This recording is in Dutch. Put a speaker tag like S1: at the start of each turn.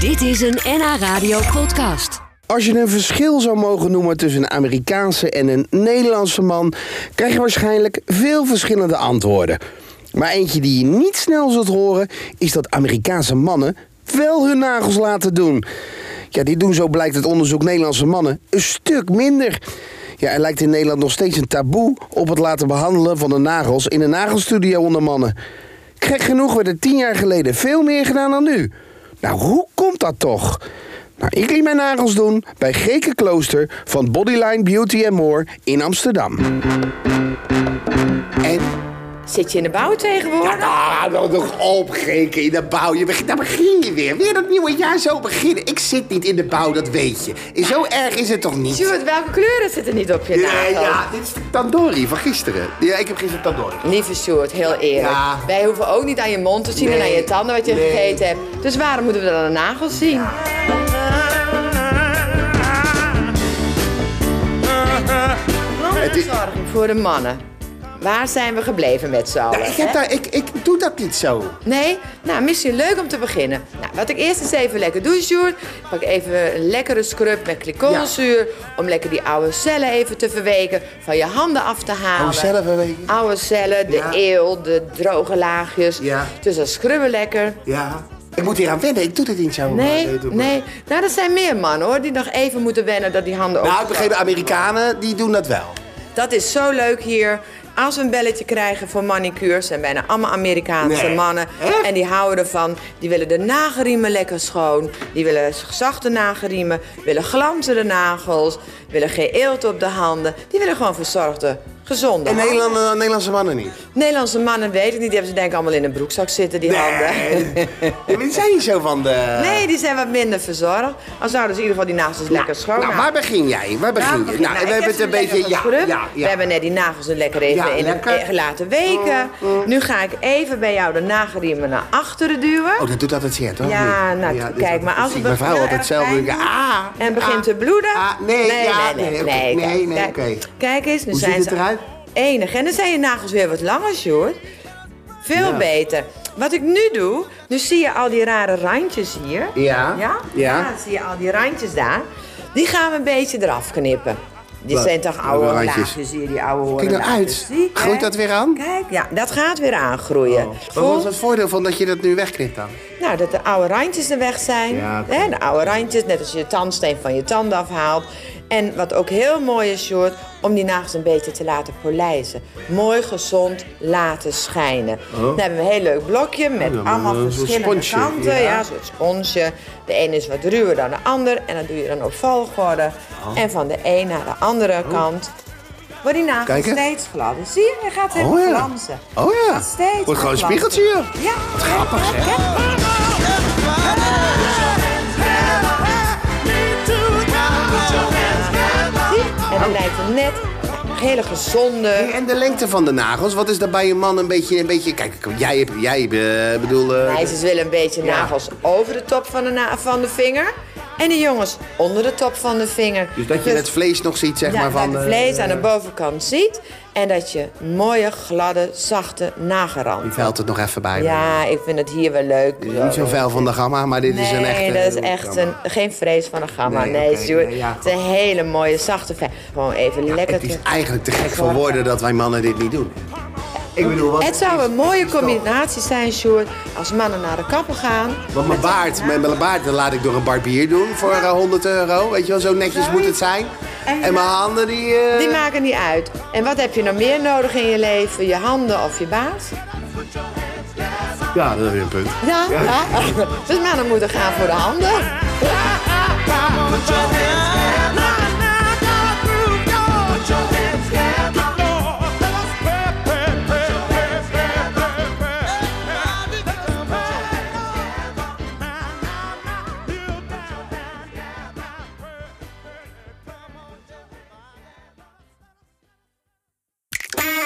S1: Dit is een NH Radio podcast.
S2: Als je een verschil zou mogen noemen tussen een Amerikaanse en een Nederlandse man, krijg je waarschijnlijk veel verschillende antwoorden. Maar eentje die je niet snel zult horen, is dat Amerikaanse mannen wel hun nagels laten doen. Ja, die doen zo blijkt het onderzoek Nederlandse mannen een stuk minder. Ja, er lijkt in Nederland nog steeds een taboe op het laten behandelen van de nagels in een nagelstudio onder mannen. Gek genoeg werd er tien jaar geleden veel meer gedaan dan nu. Nou, hoe komt dat toch? Nou, ik liet mijn nagels doen bij Geke Klooster van Bodyline Beauty and More in Amsterdam. En
S3: Zit je in de bouw tegenwoordig?
S4: Ah, nou nog op, Genke, in de bouw. Je begint, daar begin je weer. Weer dat nieuwe jaar zo beginnen. Ik zit niet in de bouw, dat weet je. En zo erg is het toch niet?
S3: Stuart, welke kleuren zitten niet op je
S4: ja,
S3: nagel?
S4: ja, dit is de tandoori van gisteren. Ja, ik heb gisteren tandoori.
S3: Lieve Stuart, heel eerlijk.
S4: Ja.
S3: Wij hoeven ook niet aan je mond te zien en
S4: Nee.
S3: aan je tanden wat je
S4: Nee.
S3: gegeten hebt. Dus waarom moeten we dan een nagel zien?
S4: Het is-
S3: Zorging voor de mannen. Waar zijn we gebleven met z'n allen?
S4: Nou, ik, heb
S3: hè?
S4: daar, ik, ik doe dat niet zo.
S3: Nee? Nou, misschien leuk om te beginnen. Nou, wat ik eerst eens even lekker doe, Sjoerd. Ik Pak even een lekkere scrub met glycolzuur. Om lekker die oude cellen even te verweken. Van je handen af te halen.
S4: Oude cellen verweken?
S3: Oude cellen, de
S4: Ja.
S3: eeuw, de droge laagjes.
S4: Ja.
S3: Dus dat scrubben lekker.
S4: Ja. Ik moet hier aan wennen, ik doe dit niet zo.
S3: Nee,
S4: doe maar.
S3: nee. Nou, dat zijn meer mannen hoor, die nog even moeten wennen dat die handen
S4: Nou, ik
S3: ook...
S4: begreep, de Amerikanen, die doen dat wel.
S3: Dat is zo leuk hier. Als we een belletje krijgen voor manicures, zijn bijna allemaal Amerikaanse
S4: Nee.
S3: mannen.
S4: Echt?
S3: En die houden ervan. Die willen de nagelriemen lekker schoon. Die willen zachte nagelriemen. Willen glanzende nagels. Willen geen eelt op de handen. Die willen gewoon verzorgde, gezonde
S4: En
S3: handen.
S4: Nederlandse, Nederlandse mannen niet.
S3: Nederlandse mannen weet ik niet. Die hebben ze denk ik allemaal in een broekzak zitten, die handen.
S4: Ja, maar die zijn niet zo van de...
S3: Nee, die zijn wat minder verzorgd. Al zouden ze in ieder geval die nagels lekker schoon
S4: Nou, waar begin jij? Waar begin je?
S3: Nou,
S4: Nou, we hebben het een beetje... Ja, ja,
S3: We
S4: ja.
S3: hebben net die nagels er lekker even
S4: Ja,
S3: in
S4: lekker. Mm,
S3: eh, laten weken. Nu ga ik even bij jou de nagelriemen naar achteren duwen.
S4: Oh, dat doet altijd zeer, toch?
S3: ja,
S4: Niet?
S3: nou
S4: Ja, dit is
S3: kijk,
S4: altijd
S3: maar als
S4: precies.
S3: het
S4: Mijn vrouw
S3: heel
S4: altijd
S3: erg
S4: zelf...
S3: pijn
S4: denken,
S3: doet
S4: Ah,
S3: en begint
S4: ah,
S3: te bloeden.
S4: ah, nee, ja, nee, oké, nee, nee,
S3: Kijk,
S4: oké.
S3: Kijk eens, nu
S4: Hoe
S3: zijn
S4: ziet
S3: ze
S4: het eruit?
S3: enig. En dan zijn je nagels weer wat langer, Sjoerd. Veel
S4: Ja.
S3: beter. Wat ik nu doe, nu zie je al die rare randjes hier.
S4: Ja.
S3: Ja?
S4: Ja.
S3: dan zie je al die randjes daar. Die gaan we een beetje eraf knippen. Die
S4: Wat?
S3: zijn toch oude
S4: Oude randjes?
S3: laagjes hier, die oude horen.
S4: Kijk nou uit. Groeit dat weer aan?
S3: Kijk, ja, dat gaat weer aangroeien.
S4: Maar wat
S3: Voel-
S4: is het voordeel van dat je dat nu wegknipt dan?
S3: nou, dat de oude randjes er weg zijn.
S4: Ja,
S3: hè, de oude randjes, net als je je tandsteen van je tanden afhaalt. En wat ook heel mooi is, Sjoerd, om die nagels een beetje te laten polijzen. Mooi gezond laten schijnen. Dan hebben we een heel leuk blokje met
S4: Oh. dan
S3: allemaal
S4: een soort
S3: verschillende
S4: sponsje,
S3: kanten.
S4: ja.
S3: Ja, een soort sponsje. De ene is wat ruwer dan de ander. En dat doe je dan op volgorde.
S4: Oh.
S3: En van de een naar de andere kant. Wordt die nagel
S4: Kijk eens.
S3: steeds gladder. Zie je, hij gaat helemaal
S4: Oh ja.
S3: glanzen.
S4: Oh ja.
S3: Gaat steeds
S4: Wordt gewoon een
S3: glanzen.
S4: spiegeltje hier.
S3: Ja.
S4: grappig,
S3: hè? En dan lijkt het net een hele gezonde.
S4: En de lengte van de nagels, wat is dat bij een man een beetje... Een beetje kijk, jij hebt... Jij eh, bedoel... eh,
S3: Meisjes willen een beetje nagels over de top van de, na- van de vinger. En de jongens onder de top van de vinger.
S4: dus dat je het vlees nog ziet, zeg
S3: ja,
S4: maar, van...
S3: dat
S4: eh,
S3: het vlees aan de bovenkant ziet. En dat je mooie, gladde, zachte nagerand.
S4: Veld het nog even bij.
S3: Ja, ik vind het hier wel leuk.
S4: Niet zo vuil van de gamma, maar dit is een echte...
S3: Nee, dat is echt een, geen vrees van een gamma.
S4: Nee,
S3: Nee,
S4: oké,
S3: Stuart.
S4: nee, ja,
S3: het is een hele mooie, zachte vijf. Gewoon even lekker
S4: Het is
S3: te-
S4: eigenlijk te gek voor woorden dat wij mannen dit niet doen. Ik bedoel, wat...
S3: Het zou een mooie combinatie zijn, Sjoerd, als mannen naar de kapper gaan.
S4: Want mijn baard, mijn, mijn baard dat laat ik door een barbier doen voor eh, 100 euro. Weet je wel, zo netjes moet het zijn.
S3: En-
S4: En mijn handen die... eh,
S3: Die maken niet uit. En wat heb je nog meer nodig in je leven? Je handen of je baas?
S4: Ja, dat heb je een punt.
S3: Ja, ja. dus mannen moeten gaan voor de handen.